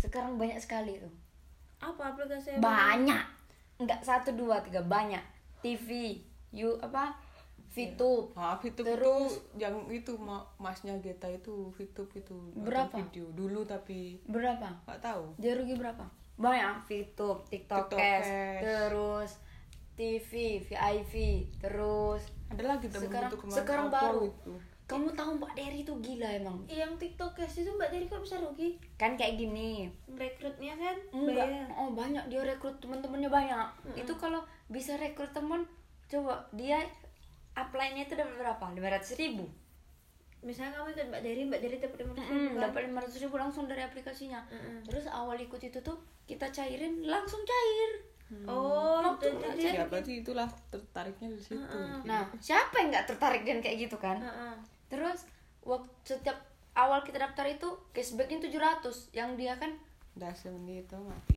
sekarang banyak sekali tuh Apa Iya, aplikasi yang- banyak nggak satu dua tiga banyak TV you apa VTube Ah, VTube Terus- itu yang itu ma- masnya Geta itu VTube itu nonton Berapa? video dulu tapi berapa nggak tahu. dia rugi berapa banyak VTube TikTok TikTokers. terus TV VIV terus Ada lagi temen sekarang itu kemarin sekarang apa baru gitu. kamu tahu Mbak Dery itu gila emang Iya, yang TikTok itu Mbak Dery kok bisa rugi kan kayak gini rekrutnya kan enggak bayar. oh banyak dia rekrut temen-temennya banyak itu kalau bisa rekrut temen coba dia apply-nya itu dapat berapa lima ratus ribu misalnya kamu ikut Mbak Dery Mbak Dery dapat lima kan? ratus Mm, dapat lima ratus ribu langsung dari aplikasinya Mm-mm. terus awal ikut itu tuh kita cairin langsung cair oh Waktu itu- itu- Ya itu- berarti itulah tertariknya di situ. nah siapa yang nggak tertarik dengan kayak gitu kan Heeh. terus waktu setiap awal kita daftar itu cashbacknya 700 yang dia kan Udah semenit itu mati.